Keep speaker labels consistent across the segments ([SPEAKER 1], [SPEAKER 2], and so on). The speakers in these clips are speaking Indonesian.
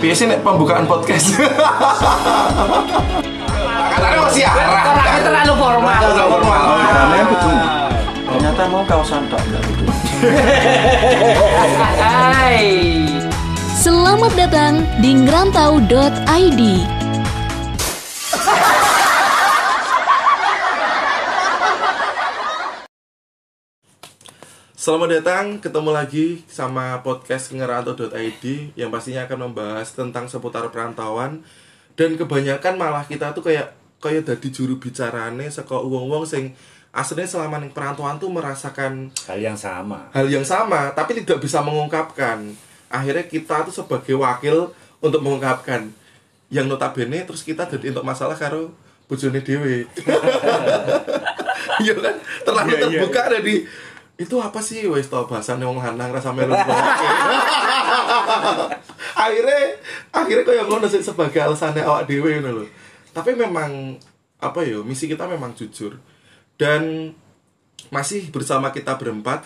[SPEAKER 1] Biasanya nek pembukaan podcast. Katanya masih arah.
[SPEAKER 2] Orangnya terlalu formal.
[SPEAKER 1] Namanya betul.
[SPEAKER 3] Ternyata mau kaosan tok enggak itu.
[SPEAKER 2] Hai.
[SPEAKER 4] Selamat datang di ngerantau.id
[SPEAKER 1] Selamat datang, ketemu lagi sama podcast ngerantau.id yang pastinya akan membahas tentang seputar perantauan dan kebanyakan malah kita tuh kayak kayak dari juru bicarane saka wong-wong sing aslinya selama ning perantauan tuh merasakan
[SPEAKER 3] Hal yang sama.
[SPEAKER 1] hal yang sama tapi tidak bisa mengungkapkan akhirnya kita tuh sebagai wakil untuk mengungkapkan yang notabene terus kita jadi untuk masalah karo bojone dhewe iya kan terlalu
[SPEAKER 3] Iya, iya.
[SPEAKER 1] terbuka ada di itu apa sih wes tau bahasan wong lanang rasa melu akhirnya akhirnya kau yang ngono sih sebagai alasannya awak dewe ngono lho. tapi memang apa yo misi kita memang jujur dan masih bersama kita berempat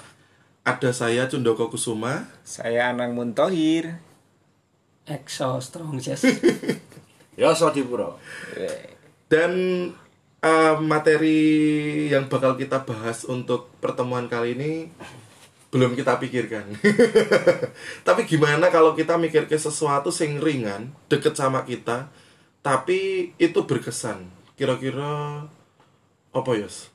[SPEAKER 1] ada saya Cundoko Kusuma
[SPEAKER 5] Saya Anang Muntohir.
[SPEAKER 2] Exo strong yes.
[SPEAKER 3] Ya Sodipuro.
[SPEAKER 1] dan eh, materi yang bakal kita bahas untuk pertemuan kali ini belum kita pikirkan. tapi gimana kalau kita mikir ke sesuatu sing ringan, deket sama kita, tapi itu berkesan. Kira-kira apa yos?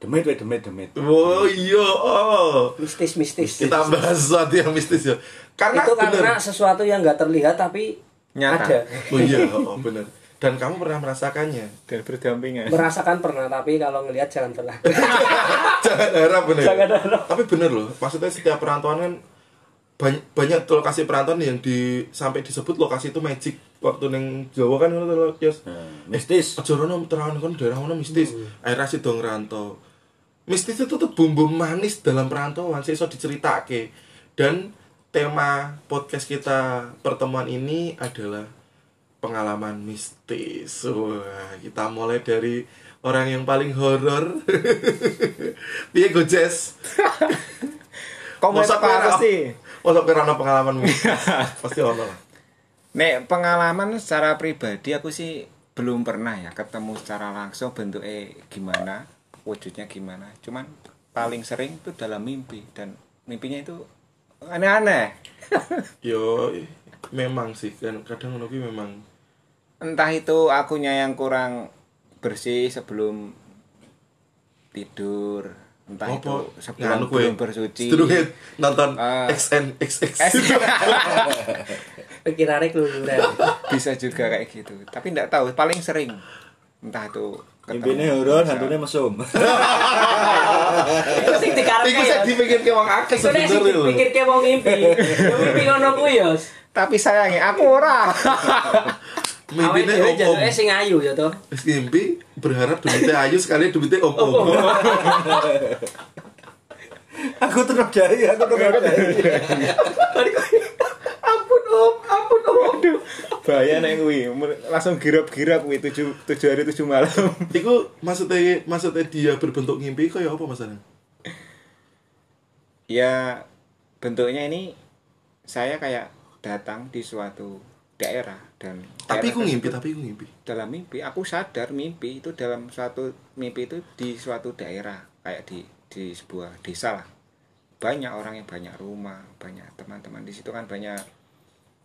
[SPEAKER 3] Demit we demit demit.
[SPEAKER 1] Oh iya, oh.
[SPEAKER 6] mistis mistis
[SPEAKER 1] kita bahas sesuatu yang mistis ya. Karena
[SPEAKER 6] itu karena
[SPEAKER 1] bener.
[SPEAKER 6] sesuatu yang nggak terlihat tapi
[SPEAKER 5] Nyata.
[SPEAKER 6] ada
[SPEAKER 1] Oh iya, oh, bener. Dan kamu pernah merasakannya?
[SPEAKER 5] Dan berdampingan.
[SPEAKER 6] merasakan pernah tapi kalau ngelihat jangan pernah
[SPEAKER 1] jangan harap bener
[SPEAKER 6] Jangan harap.
[SPEAKER 1] tapi bener loh maksudnya setiap perantauan kan banyak banyak tuh lokasi perantauan yang di sampai disebut lokasi itu magic waktu neng Jawa kan ngono tuh lho, Yos.
[SPEAKER 3] Hmm, Mistis.
[SPEAKER 1] aja rono terawan kan daerah rono
[SPEAKER 5] Iya,
[SPEAKER 1] mistis akhirnya sih dong rantau mistis itu tuh bumbu manis dalam perantauan sih so diceritake dan tema podcast kita pertemuan ini adalah pengalaman mistis wah kita mulai dari orang yang paling horor piye go Jess
[SPEAKER 5] Kok mau
[SPEAKER 1] Mosok kowe
[SPEAKER 5] apa
[SPEAKER 1] ra-
[SPEAKER 5] sih?
[SPEAKER 1] mosok kowe ra ono pengalaman mistis pasti ono lah
[SPEAKER 5] Nek pengalaman secara pribadi aku sih belum pernah ya ketemu secara langsung bentuknya gimana, wujudnya gimana. Cuman paling sering itu dalam mimpi dan mimpinya itu aneh-aneh.
[SPEAKER 1] yo memang sih kan kadang ngono kuwi memang
[SPEAKER 5] Entah itu akunya yang kurang bersih sebelum tidur, entah itu
[SPEAKER 1] Apa? Ya, anu Nganu
[SPEAKER 5] sebelum belum
[SPEAKER 1] kue.
[SPEAKER 5] bersuci.
[SPEAKER 1] Sedurunge nonton
[SPEAKER 5] Ah.
[SPEAKER 1] XNXX.
[SPEAKER 6] pikirannya keluyuran
[SPEAKER 5] bisa juga kayak gitu tapi nggak tahu paling sering entah itu
[SPEAKER 3] Mimpine horor, hantune mesum.
[SPEAKER 6] itu sing
[SPEAKER 1] Iku
[SPEAKER 6] dikarepke
[SPEAKER 1] sing
[SPEAKER 6] ya
[SPEAKER 1] dipikirke wong akeh
[SPEAKER 6] itu nek sing
[SPEAKER 1] sebenarnya lho.
[SPEAKER 6] dipikirke mau mimpi Ya mimpi ngono ku ya
[SPEAKER 5] tapi sayangnya aku ora
[SPEAKER 6] awet
[SPEAKER 1] Mimpine
[SPEAKER 6] dhewe
[SPEAKER 1] om-om.
[SPEAKER 6] jaluke sing ayu ya to
[SPEAKER 1] Wis mimpi berharap duitnya ayu sekali duitnya om-om.
[SPEAKER 3] aku tetap jari, aku tetap jari.
[SPEAKER 6] ampun om ampun om aduh
[SPEAKER 5] bahaya neng kuwi Mer- langsung girap-girap kuwi tujuh tujuh hari tujuh malam
[SPEAKER 1] Iku maksudnya maksudnya dia berbentuk mimpi kaya apa masalah?
[SPEAKER 5] ya bentuknya ini saya kayak datang di suatu daerah dan
[SPEAKER 1] Tapi
[SPEAKER 5] daerah
[SPEAKER 1] iku ngimpi,
[SPEAKER 5] tersebut-
[SPEAKER 1] tapi iku ngimpi.
[SPEAKER 5] dalam mimpi aku sadar mimpi itu dalam suatu mimpi itu di suatu daerah kayak di di sebuah desa lah banyak orang yang banyak rumah banyak teman-teman di situ kan banyak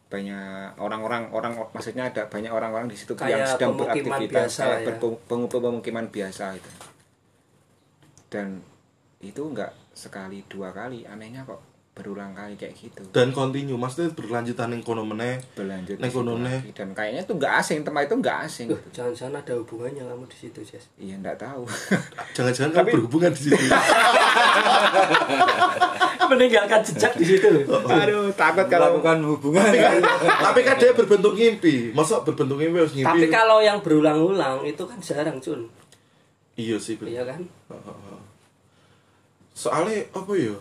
[SPEAKER 5] banyak orang-orang orang maksudnya ada banyak orang-orang di situ yang
[SPEAKER 6] Kayak
[SPEAKER 5] sedang
[SPEAKER 6] pemukiman
[SPEAKER 5] beraktivitas
[SPEAKER 6] biasa
[SPEAKER 5] kayak
[SPEAKER 6] ya.
[SPEAKER 5] berpem- pengu- pemukiman biasa gitu dan itu enggak sekali dua kali anehnya kok berulang kali kayak gitu
[SPEAKER 1] Dan continue maksudnya berlanjutan yang kono meneh.
[SPEAKER 5] berlanjut di
[SPEAKER 1] Nek
[SPEAKER 5] situ
[SPEAKER 1] kono
[SPEAKER 5] lagi. dan kayaknya itu enggak asing tempat itu enggak asing gitu.
[SPEAKER 6] Loh, jangan-jangan ada hubungannya kamu di situ Jess
[SPEAKER 5] iya enggak tahu
[SPEAKER 1] Jangan-jangan kamu berhubungan di situ.
[SPEAKER 6] meninggalkan jejak di situ lho
[SPEAKER 5] Aduh, takut kalau
[SPEAKER 3] Melakukan hubungan.
[SPEAKER 1] tapi kan dia berbentuk ngimpi. Masa berbentuk ngimpi harus ngimpi?
[SPEAKER 6] tapi
[SPEAKER 5] kan-
[SPEAKER 6] kalau yang berulang-ulang itu kan jarang cun
[SPEAKER 1] Iya sih. bener.
[SPEAKER 6] iya kan
[SPEAKER 1] soalnya apa ya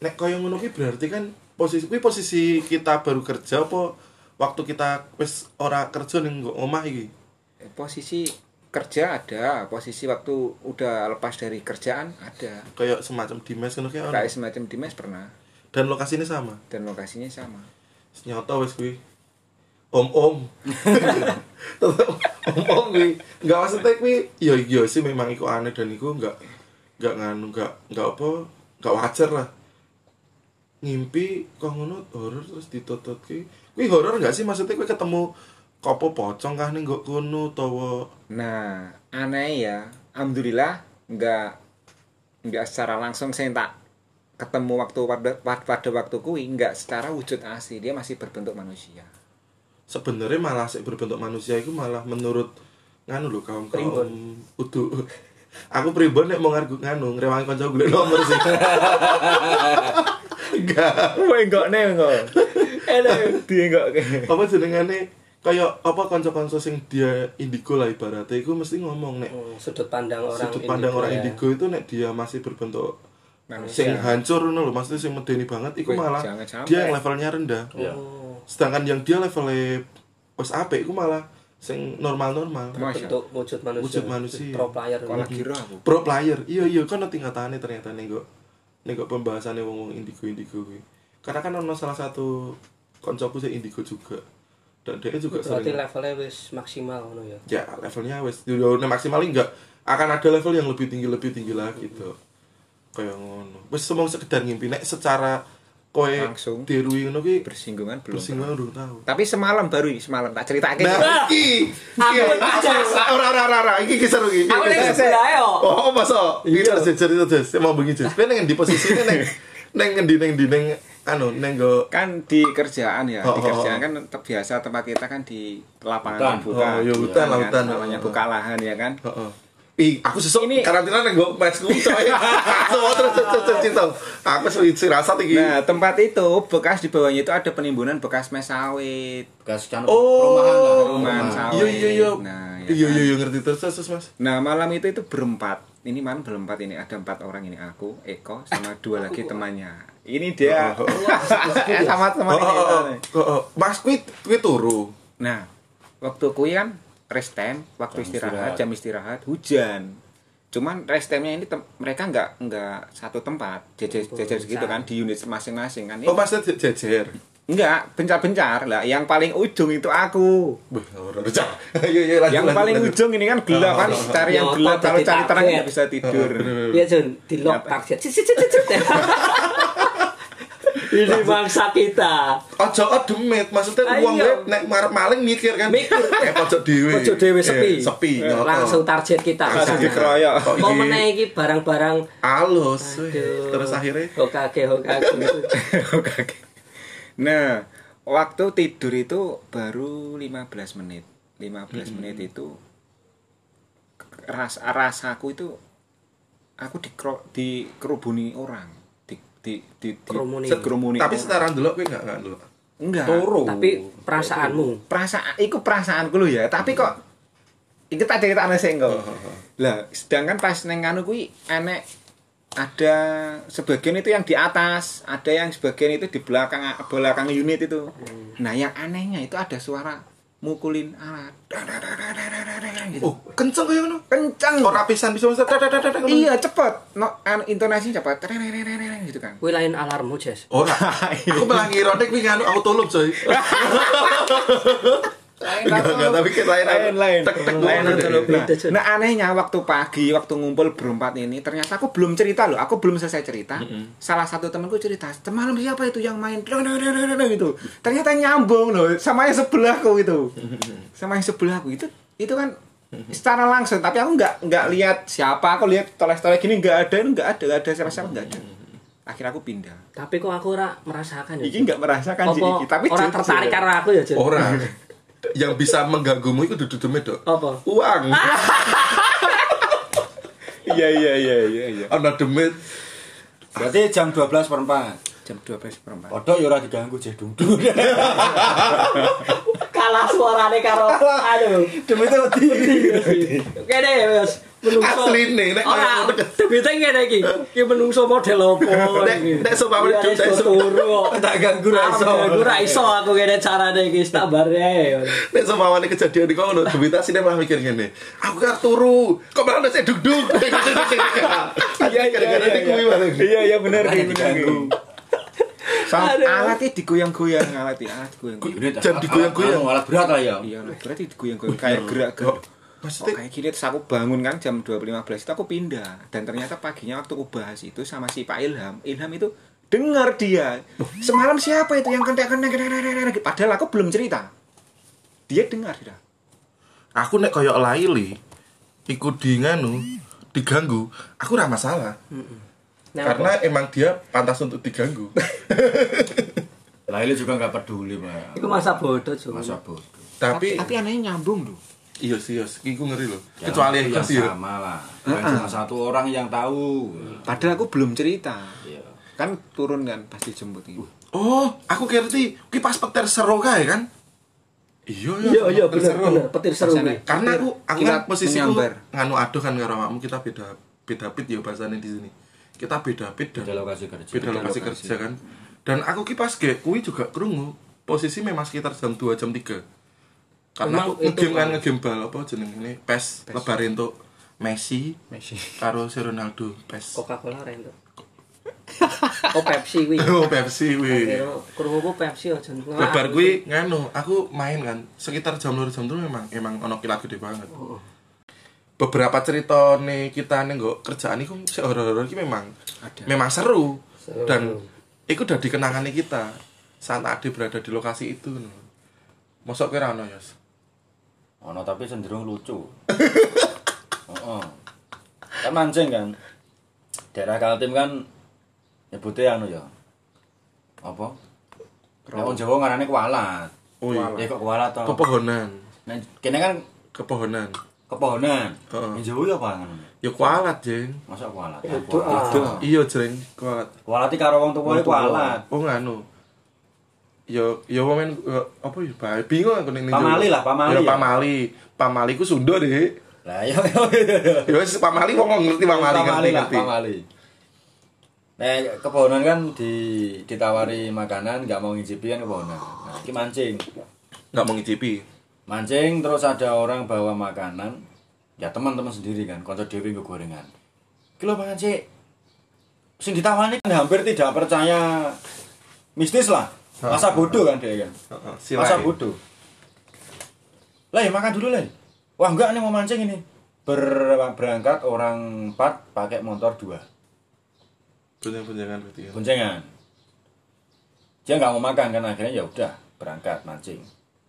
[SPEAKER 1] nek kaya ngono ki berarti kan posisi kuwi posisi kita baru kerja apa waktu kita wis ora kerja ning nggo omah iki
[SPEAKER 5] posisi kerja ada posisi waktu udah lepas dari kerjaan ada
[SPEAKER 1] kayak semacam dimes kan kayak ono.
[SPEAKER 5] kayak semacam di mes pernah
[SPEAKER 1] dan lokasinya sama
[SPEAKER 5] dan lokasinya sama
[SPEAKER 1] nyoto wes kuwi om om om om kuwi nggak maksudnya kuwi yo yo sih memang iku aneh dan iku nggak nggak nganu nggak nggak apa nggak wajar lah ngimpi kok ngono horor terus ditotot kuwi kuwi horor nggak sih maksudnya kuwi ketemu kopo pocong kah nih nggak kuno tawa
[SPEAKER 5] nah aneh ya alhamdulillah nggak nggak secara langsung saya tak ketemu waktu pada pad- pada waktu kui nggak secara wujud asli dia masih berbentuk manusia
[SPEAKER 1] sebenarnya malah sik berbentuk manusia itu malah menurut nganu lho kaum kaum udu aku pribon nek mau ngargu nganu ngrewangi kanca golek nomor sih enggak
[SPEAKER 5] enggak nih enggak dia enggak
[SPEAKER 1] apa jenengane kaya apa kanca-kanca sing dia indigo lah ibaratnya iku mesti ngomong nek
[SPEAKER 6] Hmm, sudut pandang orang
[SPEAKER 1] sudut pandang orang
[SPEAKER 6] ya.
[SPEAKER 1] indigo itu nek dia masih berbentuk
[SPEAKER 5] Manusia.
[SPEAKER 1] sing hancur ngono lho maksudnya sing medeni banget iku
[SPEAKER 5] Wih,
[SPEAKER 1] malah
[SPEAKER 5] jangan sampai.
[SPEAKER 1] dia yang levelnya rendah
[SPEAKER 6] Oh,
[SPEAKER 1] sedangkan yang dia levelnya wis apik iku malah sing normal-normal
[SPEAKER 5] masya
[SPEAKER 6] bentuk wujud manusia
[SPEAKER 1] Wujud manusia.
[SPEAKER 6] pro player
[SPEAKER 5] kalau lagi roh aku
[SPEAKER 1] pro player iya iya kan nanti ngatane ternyata nih kok nih kok pembahasannya wong wong indigo indigo gue karena kan ono salah satu koncoku sih indigo juga dan dia juga
[SPEAKER 6] berarti
[SPEAKER 1] sering
[SPEAKER 6] levelnya wis maksimal ngono ya
[SPEAKER 1] ya levelnya wes yo nah, maksimal enggak akan ada level yang lebih tinggi lebih tinggi lagi gitu kayak ngono wes semua sekedar ngimpi nek secara koe
[SPEAKER 5] Langsung.
[SPEAKER 1] dirui ngono ki
[SPEAKER 5] bersinggungan belum
[SPEAKER 1] bersinggungan belum tahu
[SPEAKER 5] tapi semalam baru ini, semalam tak ceritakan
[SPEAKER 1] nah iki iki ya. ora ora ora ora iki ki seru iki
[SPEAKER 2] Aku
[SPEAKER 1] Iki
[SPEAKER 2] nih
[SPEAKER 1] seru.
[SPEAKER 2] sebelah yo.
[SPEAKER 1] Oh, masa? Iya, terus cerita terus. Emang bengi terus. Pengen di posisi ini neng neng ngendi neng di neng anu neng go
[SPEAKER 5] kan di kerjaan ya
[SPEAKER 1] Oh,
[SPEAKER 5] di
[SPEAKER 1] oh,
[SPEAKER 5] kerjaan
[SPEAKER 1] oh.
[SPEAKER 5] kan te- biasa tempat kita kan di
[SPEAKER 3] Hutan.
[SPEAKER 5] lapangan
[SPEAKER 1] Oh,
[SPEAKER 5] terbuka
[SPEAKER 1] ya, hutan lah,
[SPEAKER 5] kan,
[SPEAKER 1] hutan.
[SPEAKER 5] namanya
[SPEAKER 1] Oh, oh.
[SPEAKER 5] buka lahan ya kan
[SPEAKER 1] Heeh. Ih, aku sesuk
[SPEAKER 5] Ini-
[SPEAKER 1] karantina neng go matchku coy. Semua terus terus terus, terus cerita. Aku sering rasa iki.
[SPEAKER 5] nah tempat itu bekas di bawahnya itu ada penimbunan bekas mes sawit
[SPEAKER 3] Gas kan perumahan lah,
[SPEAKER 1] Oh,
[SPEAKER 5] perumahan sawit.
[SPEAKER 1] iya iya iya.
[SPEAKER 5] Nah, ya
[SPEAKER 1] Iya
[SPEAKER 5] kan.
[SPEAKER 1] iya iya ngerti terus terus terus, Mas.
[SPEAKER 5] nah malam itu itu berempat ini malam berempat ini ada empat orang ini aku Eko sama dua lagi temannya ini dia
[SPEAKER 1] Oh, oh,
[SPEAKER 5] sama
[SPEAKER 1] Oh,
[SPEAKER 5] temannya
[SPEAKER 1] oh, oh,
[SPEAKER 5] ini.
[SPEAKER 1] oh, oh. Mas kuwi kuwi turu.
[SPEAKER 5] Nah, waktu kui kan rest time,
[SPEAKER 3] Jam
[SPEAKER 5] waktu istirahat,
[SPEAKER 3] istirahat.
[SPEAKER 5] jam istirahat, hujan. Cuman rest time-nya ini tem- mereka nggak nggak satu tempat, jejer jejer gitu kan di unit masing-masing kan.
[SPEAKER 1] Oh, Mas je- jejer.
[SPEAKER 5] Enggak, bencar-bencar lah. Yang paling ujung itu aku.
[SPEAKER 1] Wah, ora recah. Iya iya lanjut.
[SPEAKER 5] yang
[SPEAKER 1] lanjut,
[SPEAKER 5] paling
[SPEAKER 1] lanjut.
[SPEAKER 5] ujung ini kan gelap kan,
[SPEAKER 1] Oh, oh, oh.
[SPEAKER 5] cari yang
[SPEAKER 6] Ya,
[SPEAKER 5] gelap
[SPEAKER 6] otot
[SPEAKER 5] kalau
[SPEAKER 6] jadi
[SPEAKER 5] cari terang
[SPEAKER 6] takut.
[SPEAKER 5] nggak bisa tidur.
[SPEAKER 6] Iya Jun, di lock
[SPEAKER 5] Apa?
[SPEAKER 6] target. Cit, cit, cit, cit, cit. Ini bangsa kita.
[SPEAKER 1] Ojo demit, maksudnya
[SPEAKER 6] Ah,
[SPEAKER 1] uang
[SPEAKER 6] iya.
[SPEAKER 1] gue nek marep maling mikir kan.
[SPEAKER 6] Mikir.
[SPEAKER 1] eh pojok dewe.
[SPEAKER 6] Pojok dewe sepi.
[SPEAKER 1] Eh, sepi. nyoto.
[SPEAKER 6] Langsung target kita.
[SPEAKER 1] Langsung
[SPEAKER 6] kesana.
[SPEAKER 5] dikeroyok.
[SPEAKER 1] Kok
[SPEAKER 6] Kok
[SPEAKER 1] iki
[SPEAKER 6] meneh iki barang-barang
[SPEAKER 1] alus. weh.
[SPEAKER 6] Aduh.
[SPEAKER 1] Terus akhirnya
[SPEAKER 6] Hokage Hokage.
[SPEAKER 5] Oke. Nah, waktu tidur itu baru 15 menit. 15 menit itu ras rasaku itu aku dikro, dikerubuni orang. Di di di, di
[SPEAKER 6] Kerumuni.
[SPEAKER 5] dikerumuni
[SPEAKER 1] tapi
[SPEAKER 5] orang.
[SPEAKER 1] sekarang dulu gue enggak enggak dulu.
[SPEAKER 5] enggak.
[SPEAKER 6] Tapi perasaanmu
[SPEAKER 5] Perasaan iku perasaanku lho ya, tapi kok
[SPEAKER 1] Hmm.
[SPEAKER 5] iki tak critakne sing
[SPEAKER 1] Oh,
[SPEAKER 5] engko. Lah, sedangkan pas neng anu kuwi enek ada sebagian itu yang di atas, ada yang sebagian itu di belakang belakang unit itu.
[SPEAKER 1] Hmm.
[SPEAKER 5] Nah, yang anehnya itu ada suara mukulin alat. Gitu.
[SPEAKER 1] Oh, kenceng kayak ngono.
[SPEAKER 5] Kenceng.
[SPEAKER 1] Ora pisan bisa mesti tet, tet, tet, tet,
[SPEAKER 5] Iya, cepet. No, anu, intonasinya cepet. Gitu kan.
[SPEAKER 6] kuwi lain alarmmu, Jess.
[SPEAKER 1] Ora. Oh,
[SPEAKER 5] Iya.
[SPEAKER 1] Aku malah ngira nek kuwi nganu aku tolong coy. Enggak enggak tapi kita lain
[SPEAKER 5] lain lain
[SPEAKER 1] Tek tek
[SPEAKER 5] lain
[SPEAKER 1] ngono
[SPEAKER 5] itu
[SPEAKER 1] deh.
[SPEAKER 5] loh. Nah,
[SPEAKER 6] Beda, Jun.
[SPEAKER 5] nah anehnya waktu pagi waktu ngumpul berempat ini ternyata aku belum cerita loh aku belum selesai cerita salah satu temanku cerita semalam siapa itu yang main Dong, dong, dong, dong, dong," gitu ternyata nyambung loh sama yang sebelahku itu sama yang sebelahku itu itu kan secara langsung tapi aku nggak nggak lihat siapa aku lihat toles-toles gini nggak ada nggak ada nggak ada siapa-siapa nggak ada akhirnya aku pindah
[SPEAKER 6] Tapi kok aku ora merasakan ya.
[SPEAKER 5] Iki nggak merasakan sih
[SPEAKER 6] Apa
[SPEAKER 5] iki, tapi
[SPEAKER 6] ora
[SPEAKER 5] jujur.
[SPEAKER 6] tertarik karo aku ya, Jun.
[SPEAKER 1] Ora. Yang bisa mengganggumu itu duduk demit, Dok.
[SPEAKER 6] Apa?
[SPEAKER 1] Uang.
[SPEAKER 5] iya iya iya iya iya
[SPEAKER 1] Ana demit.
[SPEAKER 3] Berarti jam 12 per 4.
[SPEAKER 5] jam 12 perempat
[SPEAKER 3] Podok ya ora diganggu jeh dungdung.
[SPEAKER 6] Kalah suarane karo aduh.
[SPEAKER 3] Demi itu wedi.
[SPEAKER 6] Oke deh, Mas. menungso.
[SPEAKER 1] Asline, nek kaya
[SPEAKER 6] ora
[SPEAKER 1] ngono.
[SPEAKER 6] debite ngene iki. Ki menungso model opo
[SPEAKER 1] Nek-
[SPEAKER 6] iki?
[SPEAKER 1] nek sumpamane
[SPEAKER 6] Iya,
[SPEAKER 1] Jogja
[SPEAKER 6] wis
[SPEAKER 1] iso.
[SPEAKER 6] turu kok.
[SPEAKER 3] Tak ganggu ra iso.
[SPEAKER 6] Ah, ganggu ra iso aku ngene carane iki wis tak bare ae.
[SPEAKER 1] Nek seumpamane kejadian iku ngono, Dewita sine malah mikir ngene. Aku kan turu, kok malah ndek duduk. Iya gara-gara nek kuwi malah.
[SPEAKER 5] iya iya benar iya.
[SPEAKER 3] Makanya diganggu.
[SPEAKER 5] Sama
[SPEAKER 6] Aduh.
[SPEAKER 5] alatnya digoyang-goyang, alatnya alat digoyang.
[SPEAKER 3] Ini
[SPEAKER 1] Jangan
[SPEAKER 3] alat-
[SPEAKER 1] digoyang-goyang.
[SPEAKER 3] alat berat lah ya.
[SPEAKER 5] Iya, alat berarti digoyang-goyang kayak gerak-gerak. Oh,
[SPEAKER 1] Maksudnya
[SPEAKER 5] kayak gini terus aku bangun kan jam 2.15 itu aku pindah dan ternyata paginya waktu aku bahas itu sama si Pak Ilham Ilham itu dengar dia semalam siapa itu yang kentek kentek kentek kentek, kentek, kentek. padahal aku belum cerita dia dengar sudah
[SPEAKER 1] aku nek koyo Laili iku di nganu diganggu, aku ora masalah.
[SPEAKER 6] Nah,
[SPEAKER 1] Karena emang dia pantas untuk diganggu.
[SPEAKER 3] Laila juga nggak peduli pak.
[SPEAKER 6] Iku masa bodoh cuma.
[SPEAKER 3] Masa bodoh.
[SPEAKER 1] Tapi
[SPEAKER 5] tapi anehnya nyambung loh
[SPEAKER 1] iya sih, iya sih, iku ngeri loh.
[SPEAKER 3] Ya,
[SPEAKER 1] Kecuali
[SPEAKER 3] itu
[SPEAKER 1] aku
[SPEAKER 3] yang
[SPEAKER 1] sih. ya.
[SPEAKER 3] sama lah. Bukan cuma satu orang yang tahu.
[SPEAKER 5] padahal aku belum cerita
[SPEAKER 3] Iya.
[SPEAKER 5] kan turun kan pasti jemput ini
[SPEAKER 1] Oh, aku ngerti. Ki pas petir seru kae kan? Iya,
[SPEAKER 6] Iya iya bener
[SPEAKER 1] petir seru.
[SPEAKER 6] bener petir seru
[SPEAKER 5] Sana.
[SPEAKER 6] kuwi.
[SPEAKER 1] karena aku aku kan
[SPEAKER 5] Kilat
[SPEAKER 1] posisiku
[SPEAKER 5] menyambar.
[SPEAKER 1] nganu aduh kan karo awakmu kita beda beda pit ya bahasanya di sini kita beda pit dan
[SPEAKER 3] Beda lokasi kerja.
[SPEAKER 1] beda lokasi
[SPEAKER 5] lokasi.
[SPEAKER 1] kerja kan dan aku kipas ge kui juga kerungu posisi memang sekitar jam 2 jam 3 karena
[SPEAKER 6] Memang
[SPEAKER 1] aku
[SPEAKER 6] itu
[SPEAKER 1] ngegame kan
[SPEAKER 6] kan.
[SPEAKER 1] ngegame bal apa jeneng ini pes, lebarin tuh Messi karo si Ronaldo pes
[SPEAKER 6] Coca-Cola ra entuk. Oh Pepsi kuwi.
[SPEAKER 1] oh Pepsi wih
[SPEAKER 6] Kira Krungu ku Pepsi aja ngelak.
[SPEAKER 1] iya. Nah, lebar gue nganu aku main kan sekitar jam lur jam tuh memang emang ono kilat gede banget beberapa cerita nih kita nih nggak kerjaan itu horor-horor ini memang memang seru, dan itu udah dikenangan kita saat Ade berada di lokasi itu masuk ke Rano Yos
[SPEAKER 3] Ono tapi cenderung lucu. Heeh. Kan mancing kan. Daerah Kaltim kan nyebutnya anu ya. Apa? Nek wong Jawa ngarane kualat.
[SPEAKER 1] Oh iya.
[SPEAKER 3] Ya kok kualat to.
[SPEAKER 1] kepohonan
[SPEAKER 3] Nek kene kan
[SPEAKER 1] kepohonan
[SPEAKER 3] kepohonan.
[SPEAKER 1] Heeh.
[SPEAKER 3] Yang Jawa ya apa ngono?
[SPEAKER 1] ya kualat jeng
[SPEAKER 3] Masa kualat?
[SPEAKER 6] Doa.
[SPEAKER 1] iya jeng kualat
[SPEAKER 3] Kualat iki karo wong tuwa kualat.
[SPEAKER 1] oh nganu Ya, yo yo momen apa ya Pak? bingung aku nih
[SPEAKER 3] Pamali lah, pamali
[SPEAKER 1] ya
[SPEAKER 3] ya.
[SPEAKER 1] pamali pamali ku Sunda deh
[SPEAKER 3] Lah yo yo. yo.
[SPEAKER 1] ya wis pamali wong ngerti pamali ngerti
[SPEAKER 3] lah,
[SPEAKER 1] ngerti
[SPEAKER 3] Pamali. Nah, kebohonan kan di ditawari makanan nggak mau ngicipi kan kebohonan. Nah, iki mancing.
[SPEAKER 1] nggak mau ngicipi
[SPEAKER 3] Mancing terus ada orang bawa makanan. Ya teman-teman sendiri kan, konco dhewe nggo gorengan. Iki lho mangan sik. Sing ditawani kan hampir tidak percaya mistis lah. Masa bodoh kan dia kan.
[SPEAKER 1] Heeh, silain.
[SPEAKER 3] Masa bodoh. Leh, makan dulu, Leh. Wah, enggak nih mau mancing ini. Ber- berangkat orang 4 pakai motor 2.
[SPEAKER 1] Gonjang-gonjangan berarti ya.
[SPEAKER 3] boncengan dia nggak mau makan kan akhirnya ya udah berangkat mancing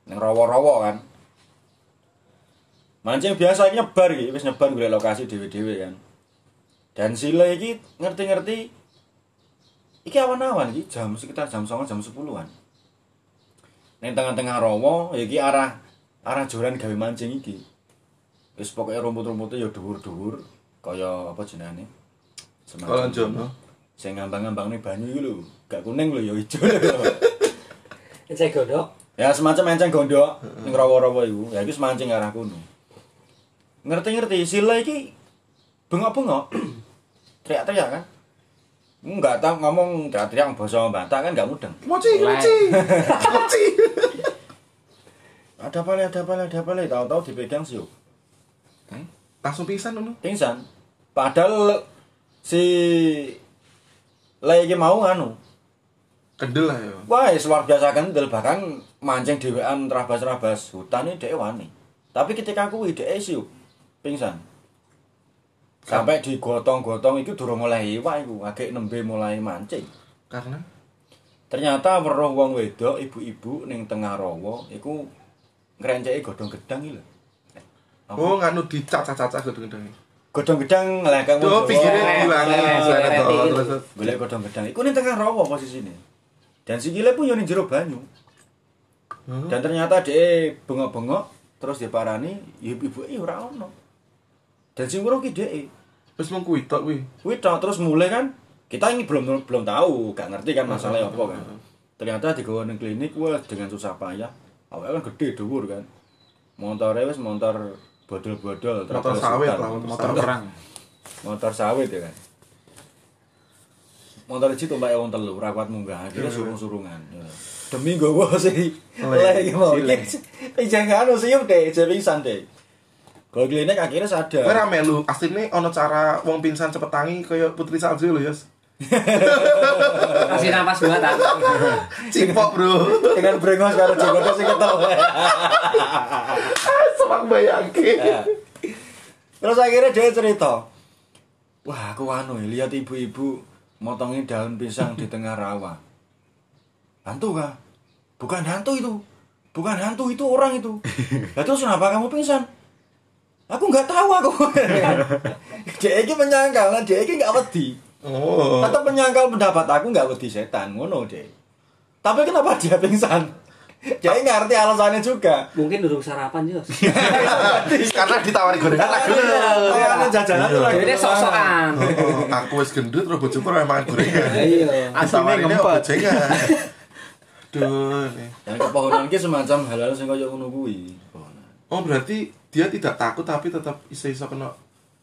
[SPEAKER 3] neng rowo-rowo kan mancing biasa iki nyebar gitu wis nyebar gue lokasi dewe-dewe kan dan sile iki ngerti-ngerti iki awan-awan iki jam sekitar jam 09.00 jam 10-an neng tengah-tengah rowo ya iki arah arah joran gawe mancing iki wis pokoknya rumput-rumputnya ya dhuwur-dhuwur kaya apa jenenge Semacam-
[SPEAKER 1] Kalau jono,
[SPEAKER 3] sing ngambang-ngambang nih banyu iki lho gak kuning lho ya ijo lho
[SPEAKER 6] Cek godok.
[SPEAKER 3] ya semacam enceng gondok ning rawa-rawa iku ya iku semancing arah kono ngerti-ngerti sila iki bengok-bengok teriak-teriak kan Enggak tahu ngomong teriak-teriak bahasa Batak kan enggak mudeng.
[SPEAKER 1] moci, moci, moci.
[SPEAKER 3] Ada apa le, ada apa le, ada apa le, tahu-tahu dipegang siuk.
[SPEAKER 1] Langsung pisan dulu.
[SPEAKER 3] Pingsan. Padahal si le iki mau anu,
[SPEAKER 1] Kendel lah ya.
[SPEAKER 3] Wah, wis luar biasa kendel bahkan mancing dhewean terabas-terabas hutan ini dhek wani. Tapi ketika kuwi dhek siu pingsan. Sampai digotong-gotong itu durung oleh iwak iku, agek nembe mulai mancing.
[SPEAKER 1] Karena
[SPEAKER 3] Ternyata weruh wong wedok ibu-ibu ning tengah rawa iku ngrenceki godhong gedang iki lho.
[SPEAKER 1] oh nganu dicacah-cacah gedung-gedung.
[SPEAKER 3] Godhong gedang lah kang
[SPEAKER 1] Oh, pinggirnya
[SPEAKER 3] Wah,
[SPEAKER 1] bulan
[SPEAKER 3] leleh,
[SPEAKER 1] bulan
[SPEAKER 3] leleh.
[SPEAKER 1] itu
[SPEAKER 6] leleh.
[SPEAKER 1] terus.
[SPEAKER 3] Golek godhong gedang. Iku ning tengah rawa posisine. Dan sikile pun yo ning jero banyu.
[SPEAKER 1] Hmm.
[SPEAKER 3] Dan ternyata dia bengok-bengok terus dia parani ibu-ibu eh ora ono. Dan sing weruh ki dhek.
[SPEAKER 1] Terus mau kuwi tok kuwi.
[SPEAKER 3] Kuwi tok, terus mulai kan kita ini belum belum tahu, gak ngerti kan masalahnya apa
[SPEAKER 1] Hmm,
[SPEAKER 3] kan. Ternyata di ning klinik wah dengan susah payah. Awalnya kan gede dhuwur kan. Motornya wis motor bodol-bodol
[SPEAKER 1] motor
[SPEAKER 3] traktor
[SPEAKER 1] sawit
[SPEAKER 3] sultan.
[SPEAKER 1] lah
[SPEAKER 5] motor perang
[SPEAKER 3] motor sawit ya kan motor iki tumpake wong telu ora kuat munggah akhirnya surung-surungan demi nggowo sih lek iki mau iki jangan anu siup deh jerisan deh kalau klinik akhirnya sadar
[SPEAKER 1] Kowe ra melu, asline ana cara wong pingsan cepet tangi kaya putri salju lho, Yos.
[SPEAKER 6] Kasih nafas buatan.
[SPEAKER 1] Cipok, Bro.
[SPEAKER 3] dengan brengos karo jenggote sing ketawa
[SPEAKER 1] Semak bayangke.
[SPEAKER 3] terus akhirnya dia cerita wah aku anu ya, lihat ibu-ibu motongin daun pisang di tengah rawa hantu kah bukan hantu itu bukan hantu itu orang itu "Lah terus kenapa kamu pingsan aku nggak tahu aku dia ini menyangkal nah dia ini nggak wedi
[SPEAKER 1] Oh.
[SPEAKER 3] tetap menyangkal pendapat aku nggak wedi setan ngono deh tapi kenapa dia pingsan
[SPEAKER 1] Ah.
[SPEAKER 3] dia nggak ngerti alasannya juga
[SPEAKER 6] Mungkin duduk sarapan juga.
[SPEAKER 1] Karena ditawari gorengan lah. Iya.
[SPEAKER 3] Makanya Iya, jajanan tuh lagi
[SPEAKER 6] Jadi sok-sokan.
[SPEAKER 1] Oh, aku wis gendut terus bojoku ora mangan gorengan.
[SPEAKER 6] Iya.
[SPEAKER 1] Asline ngempet. Duh. nih.
[SPEAKER 3] Dan kepohonan iki semacam hal-hal sing kaya ngono kuwi. Kepohonan.
[SPEAKER 1] Oh, berarti dia tidak takut tapi tetap iso-iso kena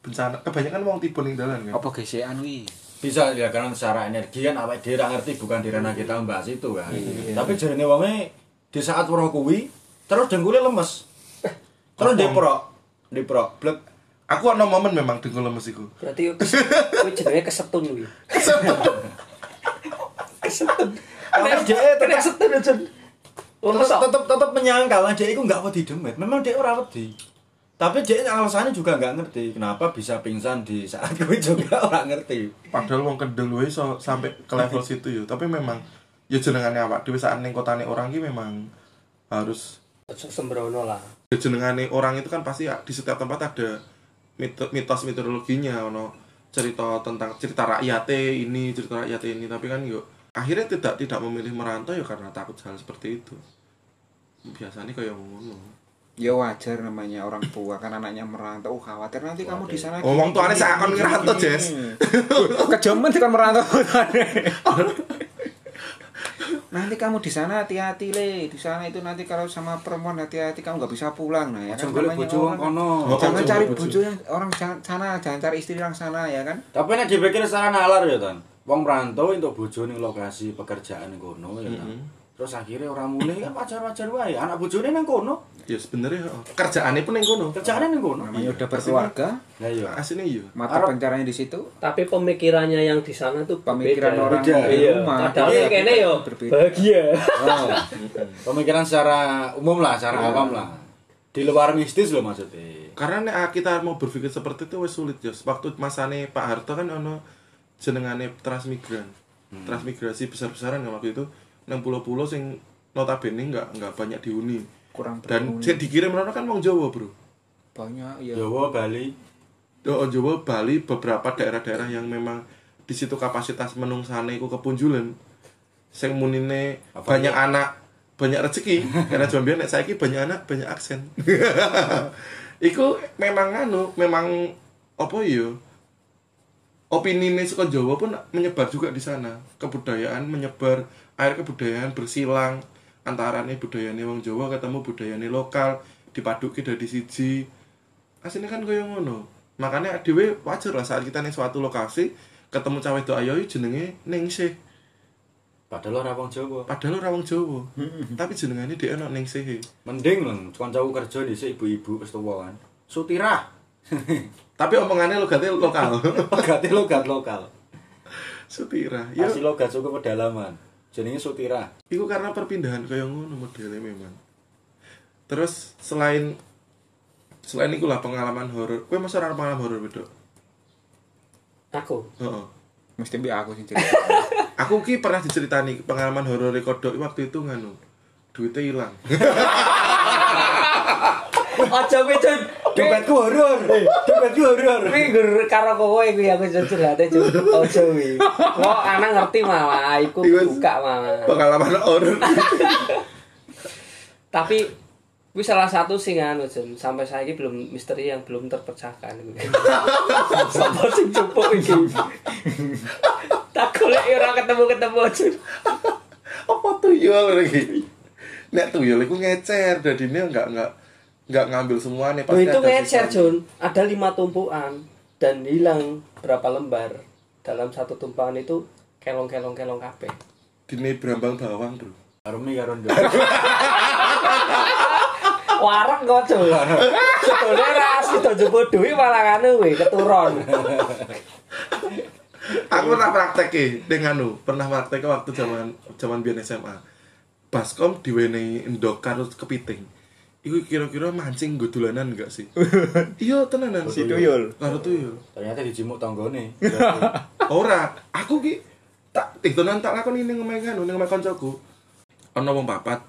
[SPEAKER 1] bencana. Kebanyakan wong tiba ning dalan kan.
[SPEAKER 5] apa gesekan wi
[SPEAKER 3] Bisa dilakukan secara energi kan awake dhewe ra ngerti bukan di ranah kita membahas itu kan. Tapi jarene wonge di saat weruh kuwi terus dengkulnya lemes.
[SPEAKER 5] Eh,
[SPEAKER 3] Terus diprok, diprok blek.
[SPEAKER 1] Aku ana momen memang dengkul lemes iku.
[SPEAKER 6] Berarti gue jenenge kesetun gue. Kesetun.
[SPEAKER 3] Tapi dia
[SPEAKER 6] Kena
[SPEAKER 3] tetep-
[SPEAKER 6] setun Jun. Ono
[SPEAKER 3] tetep
[SPEAKER 6] sok.
[SPEAKER 3] tetep tetep menyangkal lah dia itu nggak wedi demit. Memang dia ora wedi. Tapi dia alasannya juga nggak ngerti kenapa bisa pingsan di saat kuwi juga ora ngerti.
[SPEAKER 1] Padahal wong kendel wae iso sampai ke level situ yo. Tapi memang ya jenengane awak dhewe sak ning kotane orang ki memang harus ya
[SPEAKER 6] Ojo sembrono lah.
[SPEAKER 1] jenengane orang itu kan pasti ya, di setiap tempat ada mito- mitos mitologinya ono cerita tentang cerita rakyate ini cerita rakyate ini tapi kan yuk akhirnya tidak tidak memilih merantau ya karena takut hal seperti itu biasanya kayak ngono
[SPEAKER 5] ya wajar namanya orang tua kan anaknya merantau oh, khawatir nanti kamu di sana
[SPEAKER 1] oh wong tuane sak akon ngerantau Jess
[SPEAKER 5] kejaman kan merantau nanti kamu di sana hati-hati le di sana itu nanti kalau sama perempuan hati-hati kamu nggak bisa pulang nah ya kan
[SPEAKER 3] Jenggole
[SPEAKER 5] namanya
[SPEAKER 3] bojo wong
[SPEAKER 5] orang-
[SPEAKER 3] kono.
[SPEAKER 5] jangan
[SPEAKER 1] Bojo,
[SPEAKER 5] cari
[SPEAKER 1] bojo.
[SPEAKER 5] bojo yang orang jangan sana jangan cari istri orang sana ya kan
[SPEAKER 3] Tapi nek dipikir secara nalar ya, Tan. Wong merantau entuk bojo ning lokasi pekerjaan ning kono ya, Tan. Terus akhirnya orang mulai kan wajar-wajar wae. Anak bojone nang kono,
[SPEAKER 1] ya sebenarnya oh. kerjaannya pun yang kono
[SPEAKER 3] kerjaane nang kono.
[SPEAKER 5] namanya udah berkeluarga
[SPEAKER 3] Lah iya.
[SPEAKER 1] aslinya iya
[SPEAKER 5] mata pencariannya di situ
[SPEAKER 6] Tapi pemikirannya yang di sana tuh
[SPEAKER 5] pemikiran orang
[SPEAKER 3] beda.
[SPEAKER 5] di
[SPEAKER 6] Iya.
[SPEAKER 5] rumah
[SPEAKER 6] Padahal
[SPEAKER 5] Iya,
[SPEAKER 6] kene yo
[SPEAKER 5] berbeda.
[SPEAKER 6] bahagia.
[SPEAKER 3] Oh. Pemikiran secara umum lah, secara awam lah. Di luar mistis loh maksudnya.
[SPEAKER 1] karena nek ah, kita mau berpikir seperti itu wes sulit Jos waktu masane Pak Harto kan ono jenengane transmigran transmigrasi besar-besaran ya waktu itu nang pulau-pulau sing notabene nggak nggak banyak dihuni
[SPEAKER 5] kurang
[SPEAKER 1] dan
[SPEAKER 5] berguna.
[SPEAKER 1] sing dikirim rono kan wong Jawa bro
[SPEAKER 5] banyak ya
[SPEAKER 3] Jawa, Bali.
[SPEAKER 1] Wong Jawa Bali beberapa daerah-daerah yang memang di situ kapasitas menungsane iku kepunjulan sing munine
[SPEAKER 3] Apa
[SPEAKER 1] banyak anak banyak rezeki karena jombian nek saiki banyak anak banyak aksen iku memang anu memang apa yo opini ini suka Jawa pun menyebar juga di sana kebudayaan menyebar air kebudayaan bersilang antara nih budayane wong Jawa ketemu budayane lokal dipaduki dari siji aslinya kan kaya ngono makanya dhewe wajar lah saat kita nih suatu lokasi ketemu cawe do ayo jenenge Ningsih
[SPEAKER 3] Padahal ora wong Jawa.
[SPEAKER 1] padahal ora wong Jawa tapi jenengane dhek ana Ningsih
[SPEAKER 3] Mending lho, kancaku kerja di ibu-ibu wis tuwa kan. Sutirah.
[SPEAKER 1] tapi omongannya logatnya lokal
[SPEAKER 3] Logate logat lokal.
[SPEAKER 1] sutira ya
[SPEAKER 3] Asli logat suku pedalaman. Jenenge sutirah.
[SPEAKER 1] Iku karena perpindahan kaya ngono modelnya memang. Terus selain selain iku lah pengalaman horor. Kowe masa ora pengalaman horor bedok?
[SPEAKER 6] Aku.
[SPEAKER 1] Heeh.
[SPEAKER 5] mesti bi aku sih cerita
[SPEAKER 1] Aku ki pernah diceritani pengalaman horor e kodok waktu itu nganu. Duitnya hilang.
[SPEAKER 6] Ojo kowe Jun.
[SPEAKER 3] Dompetku horor. Dompetku horor.
[SPEAKER 6] Kuwi gur karo kowe kuwi aku Jun curhate Jun. Ojo kuwi. Kok ana ngerti malah iku
[SPEAKER 1] Iya,
[SPEAKER 6] buka malah.
[SPEAKER 1] pengalaman horor.
[SPEAKER 6] Tapi kuwi salah satu sing anu Jun, sampai saiki belum misteri yang belum terpecahkan. Sampai sing cukup iki. Tak golek ora ketemu-ketemu Jun.
[SPEAKER 1] Apa tuyul lagi? Nek tuyul iku ngecer dadine enggak enggak nggak ngambil semua nih
[SPEAKER 6] Loh, Oh, itu
[SPEAKER 1] ada
[SPEAKER 6] ngecer
[SPEAKER 1] sisa.
[SPEAKER 6] Jun ada lima tumpuan dan hilang berapa lembar dalam satu tumpuan itu kelong kelong kelong kabeh
[SPEAKER 1] Dine berambang bawang bro
[SPEAKER 3] Arumi karo ndo.
[SPEAKER 6] warak kok Jun sebetulnya ras itu jemput duit malah anu we keturun
[SPEAKER 1] aku pernah praktek ya dengan lu pernah praktek waktu zaman zaman biar SMA baskom diwenehi endok karo kepiting Iku kira-kira mancing gue dolanan enggak sih? iya tenanan
[SPEAKER 5] Si tuyul.
[SPEAKER 1] Karo tuyul.
[SPEAKER 3] Ternyata dijimuk tanggane.
[SPEAKER 1] Ora, aku ki tak titonan tak lakoni ning omahe kan, ning omahe kancaku. Ana wong papat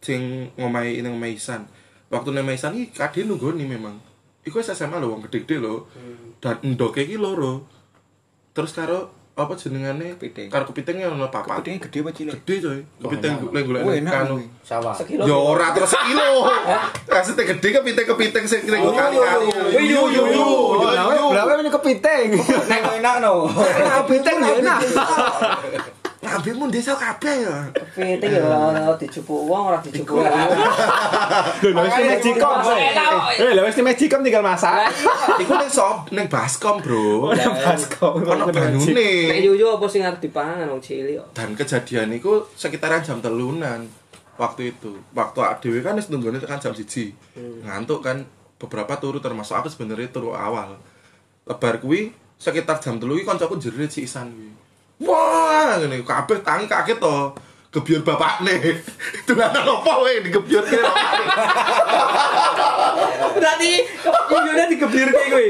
[SPEAKER 1] sing ngomahe ning omahe Isan. Waktu ning omahe Isan iki kadhe nunggoni memang. Iku wis SMA lho wong gede-gede lho. Dan endoke iki loro. Terus karo apa jenengane?
[SPEAKER 5] Kepiting.
[SPEAKER 1] Karo kepitingnya ana papat.
[SPEAKER 5] Kepitingnya gede apa cilik?
[SPEAKER 1] Gede coy. Kepiting
[SPEAKER 3] enak.
[SPEAKER 1] golek golek
[SPEAKER 5] Oh, enak,
[SPEAKER 1] kanu.
[SPEAKER 5] weh.
[SPEAKER 3] Sawah.
[SPEAKER 6] sekilo
[SPEAKER 1] Ya ora terus kilo. Kasete gede kepiting-kepiting sing kring
[SPEAKER 5] Oh,
[SPEAKER 1] kali-kali.
[SPEAKER 5] iya,
[SPEAKER 1] Yo yo yo.
[SPEAKER 7] Berapa ini kepiting?
[SPEAKER 3] Nek enak no.
[SPEAKER 7] Kepiting ya enak.
[SPEAKER 1] Ngambilmu desa kabeh ya.
[SPEAKER 6] kepiting ya ora dijupuk uang ora dijupuk
[SPEAKER 7] Loh, lewis ini magicom. Eh, lewis ini magicom tinggal masak.
[SPEAKER 1] Iku ning sop ning baskom,
[SPEAKER 5] Oh,
[SPEAKER 1] Bro.
[SPEAKER 7] Udah
[SPEAKER 5] iya,
[SPEAKER 7] pas kok.
[SPEAKER 1] Ono
[SPEAKER 6] Nek
[SPEAKER 1] banyune.
[SPEAKER 6] yuyu apa sing arep dipangan wong cilik kok.
[SPEAKER 1] Dan kejadian iku sekitaran jam telunan waktu itu. Waktu awak dhewe kan wis nunggone tekan jam 1. Ngantuk kan beberapa turu termasuk aku sebenarnya turu awal. Lebar kuwi sekitar jam 3 iki kancaku jerit si Isan kuwi. Wah, ngene kabeh tangi kaget to. Gebyur bapakne. Dolanan opo wae digebyurke bapakne.
[SPEAKER 6] Berarti yuyune digeblirke kuwi.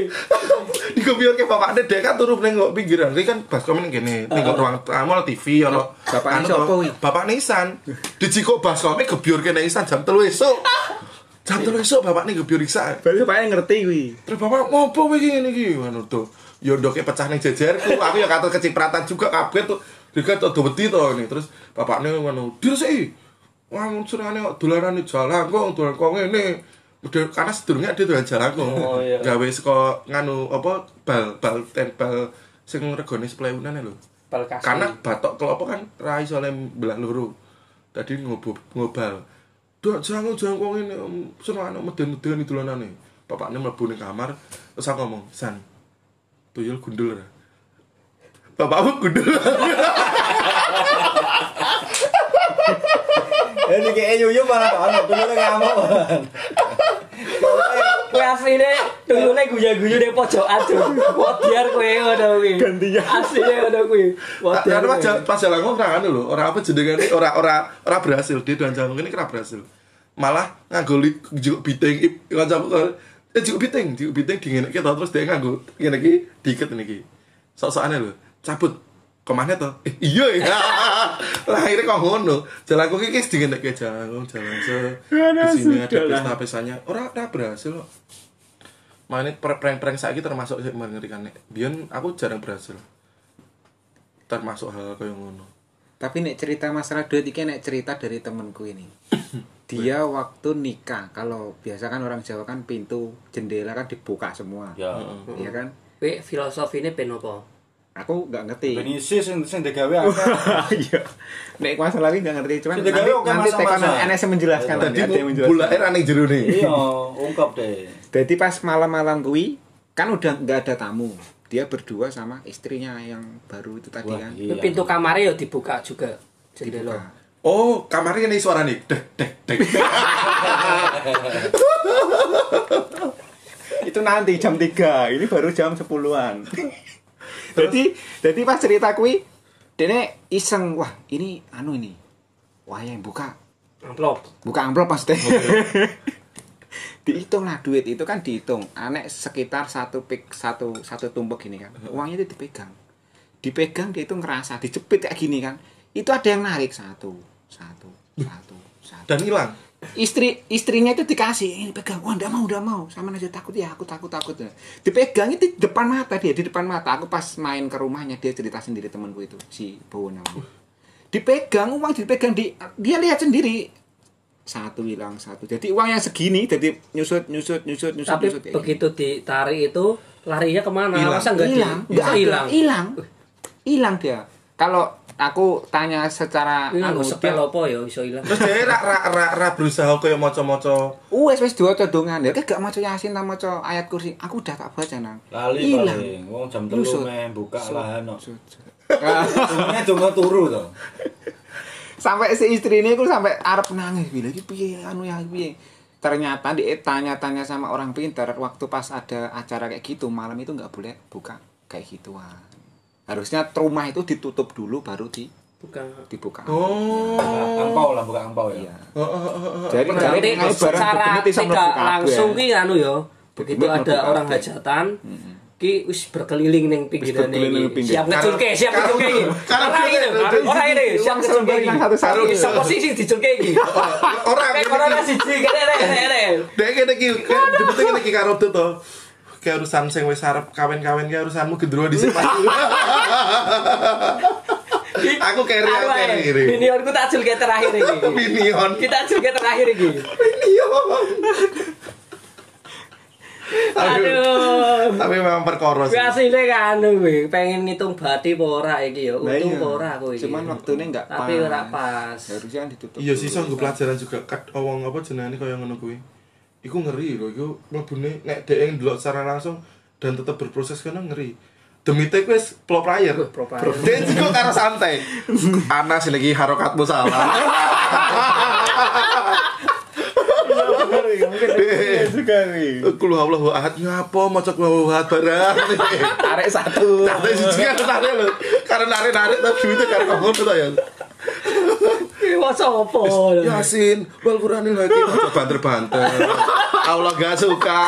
[SPEAKER 1] digebyurke bapakne dek kan turu ning nggo pinggiran. Iki kan baskom ning kene, ning nggo ruang tamu ono TV ono.
[SPEAKER 5] Bapakne
[SPEAKER 1] anu
[SPEAKER 5] sapa
[SPEAKER 1] to,
[SPEAKER 5] kuwi?
[SPEAKER 1] Bapakne Isan. Dijikuk baskome gebyurke ning Isan jam 3 esuk. Jam 3 esuk bapakne gebyur Isan.
[SPEAKER 7] Baru paling ngerti kuwi.
[SPEAKER 1] Terus bapak ngopo kowe iki ngene iki ngono to. Ya ndoke pecah ning jejerku, aku ya katon kecipratan juga kabeh tuh. Dekat tuh beti to ini. Terus bapakne ngono, "Dir sik. Wah, unsurane kok dolarane jalangkung, dolan kok ngene." Udah karena sedurunge dia dolan jalangkung.
[SPEAKER 6] Oh, iya.
[SPEAKER 1] Gawe saka nganu apa bal bal tempel sing regane 10.000-an lho.
[SPEAKER 6] Balkas.
[SPEAKER 1] Karena batok kelopo kan rai soalnya belah loro. Tadi ngobo ngobal. Dok jangan jangan kok ngene em, seneng anak meden-meden dolanane. Bapakne mlebu ning kamar terus aku ngomong, "San, tuyul gundul ra?" Bapakmu gundul.
[SPEAKER 3] Eh iki yuyu malah ono dulu ngamuk.
[SPEAKER 6] Kowe asline dulune guyu-guyu ning pojokan tuh. Wadiar kowe ngono kuwi. Gantian. Asline ngono kuwi.
[SPEAKER 1] Tak
[SPEAKER 6] Wadiar.
[SPEAKER 1] pas
[SPEAKER 6] kowe.
[SPEAKER 1] jalan pas jalan ngomong ora anu lho, ora apa jenengane ora ora ora berhasil dia dan jalan ngene kira berhasil. Malah nganggo li- juk biting ip- kancaku kok, eh juk biting, juk biting dingin kita terus dia nganggo ngene iki diket niki. Sok-sokane lho, cabut. Kemana tuh? Eh, iya ya. Lah akhirnya kok ngono. Jalan aku kikis dingin kayak jalan aku jalan se. Di sini ada pesta pestanya. Ora ora berhasil kok. Mainnya prank-prank saiki termasuk sing mengerikan nek. Biyen aku jarang berhasil termasuk hal kayak ngono
[SPEAKER 5] Tapi nek cerita masalah duit iki nek cerita dari temenku ini. Dia waktu nikah, kalau biasa kan orang Jawa kan pintu jendela kan dibuka semua.
[SPEAKER 3] Ya.
[SPEAKER 5] Iya kan?
[SPEAKER 6] Kowe filosofine ben apa?
[SPEAKER 5] Aku nggak ngerti.
[SPEAKER 3] Ben isi sing sing digawe akeh.
[SPEAKER 7] Iya.
[SPEAKER 5] Nek masalah ini nggak ngerti, cuman
[SPEAKER 3] Sudah
[SPEAKER 5] nanti,
[SPEAKER 3] gawe, oke,
[SPEAKER 5] nanti
[SPEAKER 3] masa-masa.
[SPEAKER 5] tekan NS menjelaskan.
[SPEAKER 1] tadi
[SPEAKER 5] nanti ada yang menjelaskan.
[SPEAKER 1] bola air aneh jeru nih
[SPEAKER 3] Iya, ungkap deh.
[SPEAKER 5] Jadi pas malam-malam kuwi kan udah nggak ada tamu. Dia berdua sama istrinya yang baru itu tadi kan.
[SPEAKER 3] iya.
[SPEAKER 6] Pintu kamarnya ya dibuka juga
[SPEAKER 5] Dibuka.
[SPEAKER 6] jendela.
[SPEAKER 1] oh kamarnya nih suara nih dek dek dek
[SPEAKER 7] Itu nanti jam 3. Ini baru jam 10-an. jadi jadi pas cerita kuwi dene iseng wah ini anu ini wah yang buka
[SPEAKER 6] Amplop.
[SPEAKER 7] buka amplop maksudnya
[SPEAKER 5] dihitung lah duit itu kan dihitung anek sekitar satu pik satu satu tumpuk gini kan uangnya itu dipegang dipegang dia itu ngerasa dijepit kayak gini kan itu ada yang narik satu satu satu satu
[SPEAKER 1] dan hilang
[SPEAKER 5] istri istrinya itu dikasih ini pegang wah ndak mau ndak mau sama aja takut ya aku takut takut dipegang itu di depan mata dia di depan mata aku pas main ke rumahnya dia cerita sendiri temanku itu si Bowo namanya dipegang uang dipegang di dia lihat sendiri satu hilang satu jadi uang yang segini jadi nyusut nyusut nyusut nyusut
[SPEAKER 6] Tapi
[SPEAKER 5] nyusut ya. kayak gini.
[SPEAKER 6] begitu ditarik itu larinya kemana?
[SPEAKER 1] Hilang.
[SPEAKER 6] Masa enggak
[SPEAKER 5] hilang
[SPEAKER 6] hilang?
[SPEAKER 5] nggak ada
[SPEAKER 6] hilang.
[SPEAKER 5] hilang hilang dia kalau aku tanya secara
[SPEAKER 6] Ini nggo
[SPEAKER 5] anu dia-
[SPEAKER 6] sepel apa ya iso ilang.
[SPEAKER 1] terus dia rak rak rak rak berusaha kayak moco-moco
[SPEAKER 5] Wes wes dua dongan. Ya gak maca Yasin ta maca ayat kursi. Aku udah tak baca nang.
[SPEAKER 3] Lali
[SPEAKER 5] Ilang.
[SPEAKER 3] paling. Wong jam
[SPEAKER 5] Lu,
[SPEAKER 3] 3
[SPEAKER 5] Sud.
[SPEAKER 3] meh buka lahan no.
[SPEAKER 5] Sud, sud.
[SPEAKER 3] Semuanya cuma turu to.
[SPEAKER 5] sampai si istri ini aku sampai arep nangis bilang "Iki piye anu ya iki piye ternyata di tanya-tanya sama orang pintar waktu pas ada acara kayak gitu malam itu nggak boleh buka kayak gituan harusnya rumah itu ditutup dulu baru di
[SPEAKER 6] Bukan.
[SPEAKER 5] dibuka
[SPEAKER 6] Oh,
[SPEAKER 3] Angpau lah buka angpau ya.
[SPEAKER 5] Iya.
[SPEAKER 1] Oh, oh, oh, oh, oh.
[SPEAKER 5] jadi
[SPEAKER 6] Berarti
[SPEAKER 5] jangan barang
[SPEAKER 6] secara
[SPEAKER 5] begini bisa
[SPEAKER 6] tidak
[SPEAKER 5] mlebu kabeh.
[SPEAKER 6] langsung ki anu ya. Begitu
[SPEAKER 5] Begini
[SPEAKER 6] ada
[SPEAKER 5] mlebu
[SPEAKER 6] orang
[SPEAKER 5] kabeh.
[SPEAKER 6] hajatan, ki wis berkeliling ning pinggiran
[SPEAKER 5] berkeliling
[SPEAKER 6] ini.
[SPEAKER 5] ning pinggir.
[SPEAKER 6] Siap ngecurke, siap
[SPEAKER 1] Karo-
[SPEAKER 6] ngecurke iki.
[SPEAKER 1] karo-
[SPEAKER 6] Ora
[SPEAKER 1] karo-
[SPEAKER 6] ini,
[SPEAKER 1] karo-
[SPEAKER 6] ora ini, siap
[SPEAKER 5] uang
[SPEAKER 6] ngecurke
[SPEAKER 5] selembar
[SPEAKER 6] iki.
[SPEAKER 5] yang satu-satu.
[SPEAKER 6] Karo iso posisi dicurke iki.
[SPEAKER 1] orang
[SPEAKER 6] Kayak
[SPEAKER 1] ngene
[SPEAKER 6] corona
[SPEAKER 1] iki.
[SPEAKER 6] siji kene kene kene.
[SPEAKER 1] Dek kene iki kan jebute kene iki karo Dut, to. Kayak urusan sing wis arep kawin-kawin kayak urusanmu gendro di sini. Aku carry aku
[SPEAKER 6] Anu
[SPEAKER 1] carry
[SPEAKER 6] ae,
[SPEAKER 1] kiri.
[SPEAKER 6] Minionku tak julke terakhir iki.
[SPEAKER 1] Minion.
[SPEAKER 6] Kita julke terakhir iki.
[SPEAKER 1] Minion. Aduh.
[SPEAKER 6] Aduh.
[SPEAKER 1] Tapi memang perkara
[SPEAKER 6] Gue
[SPEAKER 1] sih.
[SPEAKER 6] aslinya kan gue pengen ngitung bati apa ora iki ya.
[SPEAKER 5] Nah,
[SPEAKER 6] Untung
[SPEAKER 5] iya.
[SPEAKER 6] apa ora aku iki.
[SPEAKER 5] cuman waktunya nggak
[SPEAKER 6] Tapi ora pas.
[SPEAKER 5] harusnya kan ditutup
[SPEAKER 1] Iya
[SPEAKER 5] dulu.
[SPEAKER 1] sih nggo pelajaran juga kat wong apa jenenge kaya ngono kuwi. Iku ngeri lho, iku mlebune nek dhek yang ndelok secara langsung dan tetep berproses kena ngeri. Demi tek wis pro player.
[SPEAKER 6] pro player.
[SPEAKER 1] Dia juga karo santai. Ana sih lagi harokatmu salah.
[SPEAKER 5] sekali
[SPEAKER 1] Kul Allahu ahad Ya nyapa maca kul Allahu ahad barang.
[SPEAKER 5] tarik satu
[SPEAKER 1] Tapi siji kan tarik lho. Karena narik-narik tapi duitnya karena ngono to ya.
[SPEAKER 6] Ki waso apa?
[SPEAKER 1] Yasin, Ya, Wal Quranil Hakim aja banter-banter. Allah gak suka.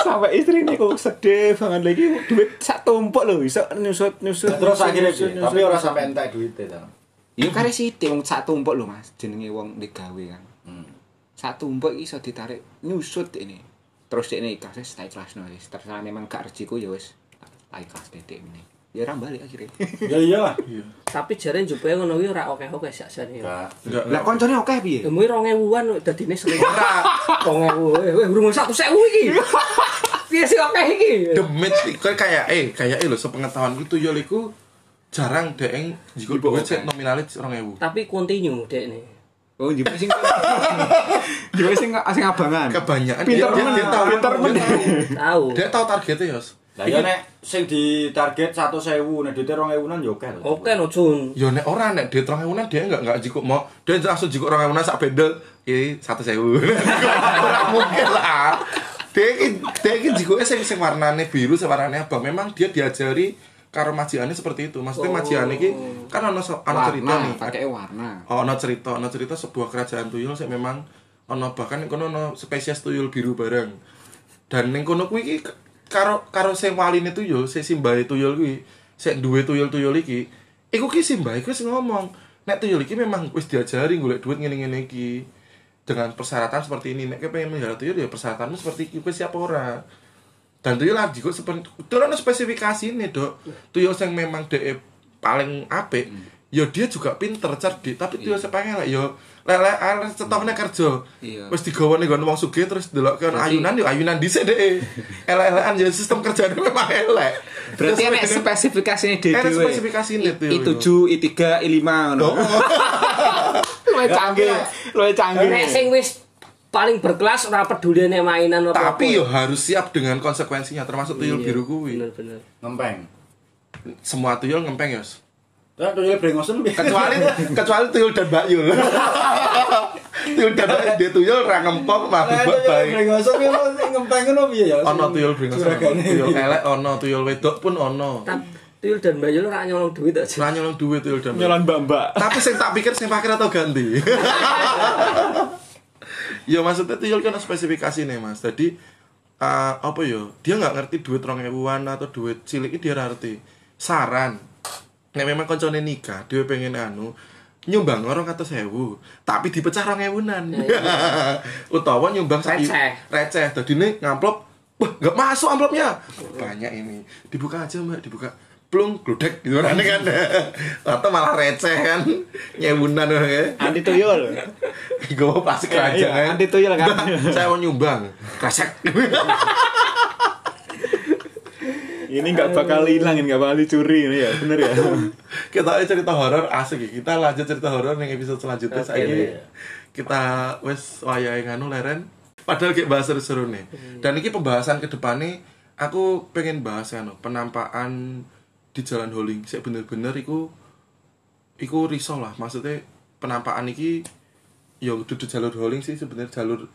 [SPEAKER 5] sampai istri ini kok sedih banget lagi duit sak tumpuk loh bisa nyusut nyusut
[SPEAKER 3] Nah, Terus
[SPEAKER 5] nyusut,
[SPEAKER 3] akhirnya
[SPEAKER 5] nyusut,
[SPEAKER 3] piye?
[SPEAKER 5] nyusut,
[SPEAKER 3] tapi ora
[SPEAKER 5] nyusut.
[SPEAKER 3] sampai entek duite to.
[SPEAKER 5] Iya kare sithik wong sak tumpuk lho Mas, jenenge wong digawe kan.
[SPEAKER 1] Hmm.
[SPEAKER 5] Sak tumpuk iki iso ditarik nyusut ini. Terus dekne ikhlas wis tak ikhlasno wis. Terserah memang gak rejiku ya wis. Tak ikhlas titik ini. Ya ora balik akhirnya.
[SPEAKER 3] Ya iya lah.
[SPEAKER 6] Tapi jare njupuke ngono kuwi ora oke-oke sakjane.
[SPEAKER 3] Enggak.
[SPEAKER 5] Lah koncone akeh piye?
[SPEAKER 6] Demi 2000-an kok dadine sering. 2000. Eh, Weh, urung 1000 iki. Piye sih akeh iki?
[SPEAKER 1] Demit sih, kan kayak eh kayak eh lho sepengetahuan gitu yo iku jarang deeng jiko duit sik nominalnya 2000.
[SPEAKER 6] Tapi continue dekne.
[SPEAKER 5] Oh, jipe sing jipe sing sing abangan.
[SPEAKER 1] Kebanyakan
[SPEAKER 5] Pinter
[SPEAKER 1] dia, dia,
[SPEAKER 5] men,
[SPEAKER 1] dia tahu
[SPEAKER 5] pinter men.
[SPEAKER 1] dia tahu,
[SPEAKER 6] Tahu.
[SPEAKER 1] dia tahu targetnya ya, Yos.
[SPEAKER 3] Lah iya nek sing ditarget 100.000 nek duite 2000-an yo ya oke.
[SPEAKER 6] Oke no Jun.
[SPEAKER 1] Yo nek ora nek dia 2000-an dia enggak enggak jiko mau dia langsung jiko 2000-an sak bendel iki 1000. Ora mungkin lah. Dia ki dia ki jikoke sing sing warnane biru, sing warnane abang. Memang dia diajari karo majiane seperti itu. Maksudnya majiane iki kan ana se- ana cerita
[SPEAKER 5] Oh. Warna,
[SPEAKER 1] nih.
[SPEAKER 5] pakai warna.
[SPEAKER 1] Oh, ana cerita, ana cerita sebuah kerajaan tuyul sing memang ana bahkan ning kono ana spesies tuyul biru bareng. Dan ning kono kuwi iki k- karo karo sing waline tuyul, sing simbahe tuyul kuwi, sing duwe tuyul-tuyul iki, iku ki simbahe kuwi sing ngomong, nek tuyul iki memang wis diajari golek duit ngene-ngene iki dengan persyaratan seperti ini. Nek kowe pengen melihara tuyul ya persyaratanmu seperti iki, kowe siap ora? dan tuyul lah juga sepen tuyul ada spesifikasi nih dok tuyul yang memang de paling apik ya dia juga pinter cerdik tapi tuyul sepengen lah yo lele arek cetohne kerja
[SPEAKER 5] Iya.
[SPEAKER 1] wis digawa ning nggon wong sugih terus delok kan ayunan yo ayunan dhisik deh elek-elekan ya sistem kerjane memang elek Terus
[SPEAKER 5] Berarti enek
[SPEAKER 1] pengen-
[SPEAKER 5] spesifikasinya dhewe.
[SPEAKER 1] Enek spesifikasine dhewe.
[SPEAKER 5] I7, I3, I5 ngono.
[SPEAKER 1] Oh.
[SPEAKER 5] Luwe canggih, luwe canggih.
[SPEAKER 6] Nek sing wis paling berkelas ora peduli nek mainan apa.
[SPEAKER 1] tapi yo harus siap dengan konsekuensinya termasuk
[SPEAKER 5] Iya,
[SPEAKER 1] tuyul biru kuwi
[SPEAKER 6] Bener-bener.
[SPEAKER 3] Ngempeng.
[SPEAKER 1] semua tuyul ngempeng yos
[SPEAKER 3] Lah ya tuyul brengosen piye?
[SPEAKER 1] kecuali kecuali tuyul dan mbak yul tuyul dan mbak dia tuyul ra ngempong mabuk
[SPEAKER 3] Lah
[SPEAKER 1] buat
[SPEAKER 3] tuyul
[SPEAKER 1] baik
[SPEAKER 3] brengosen piye ya, Mas? Sing ngempeng ngono piye ya?
[SPEAKER 1] ono tuyul bringas
[SPEAKER 3] Curagane.
[SPEAKER 1] tuyul kan. elek ono tuyul wedok pun ono
[SPEAKER 6] Tapi Tuyul dan Mbak Yul ora nyolong duit aja.
[SPEAKER 1] ra nyolong duit tuyul dan mbak
[SPEAKER 5] Nyolan mbak-mbak.
[SPEAKER 1] tapi sing tak pikir sing pakir atau ganti ya maksudnya tuyul kan ada spesifikasi nih mas jadi eh, apa yo dia nggak ngerti duit rong ewuan atau duit cilik dia nggak ngerti saran nek memang koncone nikah dia pengen anu nyumbang orang atau sewu tapi dipecah rong ewunan utawa nyumbang sak-
[SPEAKER 6] Receh.
[SPEAKER 1] receh tadi nih ngamplop wah nggak masuk amplopnya banyak ini dibuka aja mbak dibuka plung gludek gitu kan kan atau malah receh kan nyewunan orang ya
[SPEAKER 5] Anti tuyul.
[SPEAKER 1] gue mau plastik raja
[SPEAKER 5] Iya, anti tuyul kan.
[SPEAKER 1] Nah, Mbak, saya mau nyumbang kresek
[SPEAKER 7] ini nggak bakal hilang ini nggak bakal dicuri ini ya bener ya
[SPEAKER 1] kita aja cerita horor asik ya. kita lanjut cerita horor yang episode selanjutnya
[SPEAKER 5] iya,
[SPEAKER 1] saiki kita wes wayahe nganu leren padahal kayak bahas seru-seru nih
[SPEAKER 5] Hmm.
[SPEAKER 1] dan ini pembahasan kedepannya aku pengen bahas anu penampakan di jalan holing sik bener-bener iku iku risau lah maksudnya penampakan iki ya duduk jalur holing sih sebenarnya jalur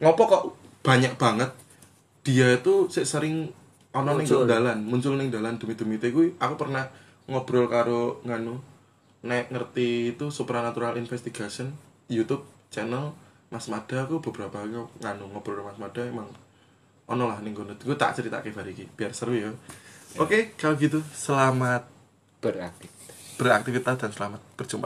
[SPEAKER 1] ngopo kok banyak banget dia itu sik sering ono ning dalan muncul ning dalan demi-demi te kuwi aku pernah ngobrol karo nganu nek ngerti itu supernatural investigation YouTube channel Mas Mada aku beberapa kali nganu ngobrol karo Mas Mada emang ono lah ning kono gue tak ceritake bar iki biar seru ya oke kalau gitu selamat
[SPEAKER 7] beraktif
[SPEAKER 1] beraktivitas dan selamat berjumpa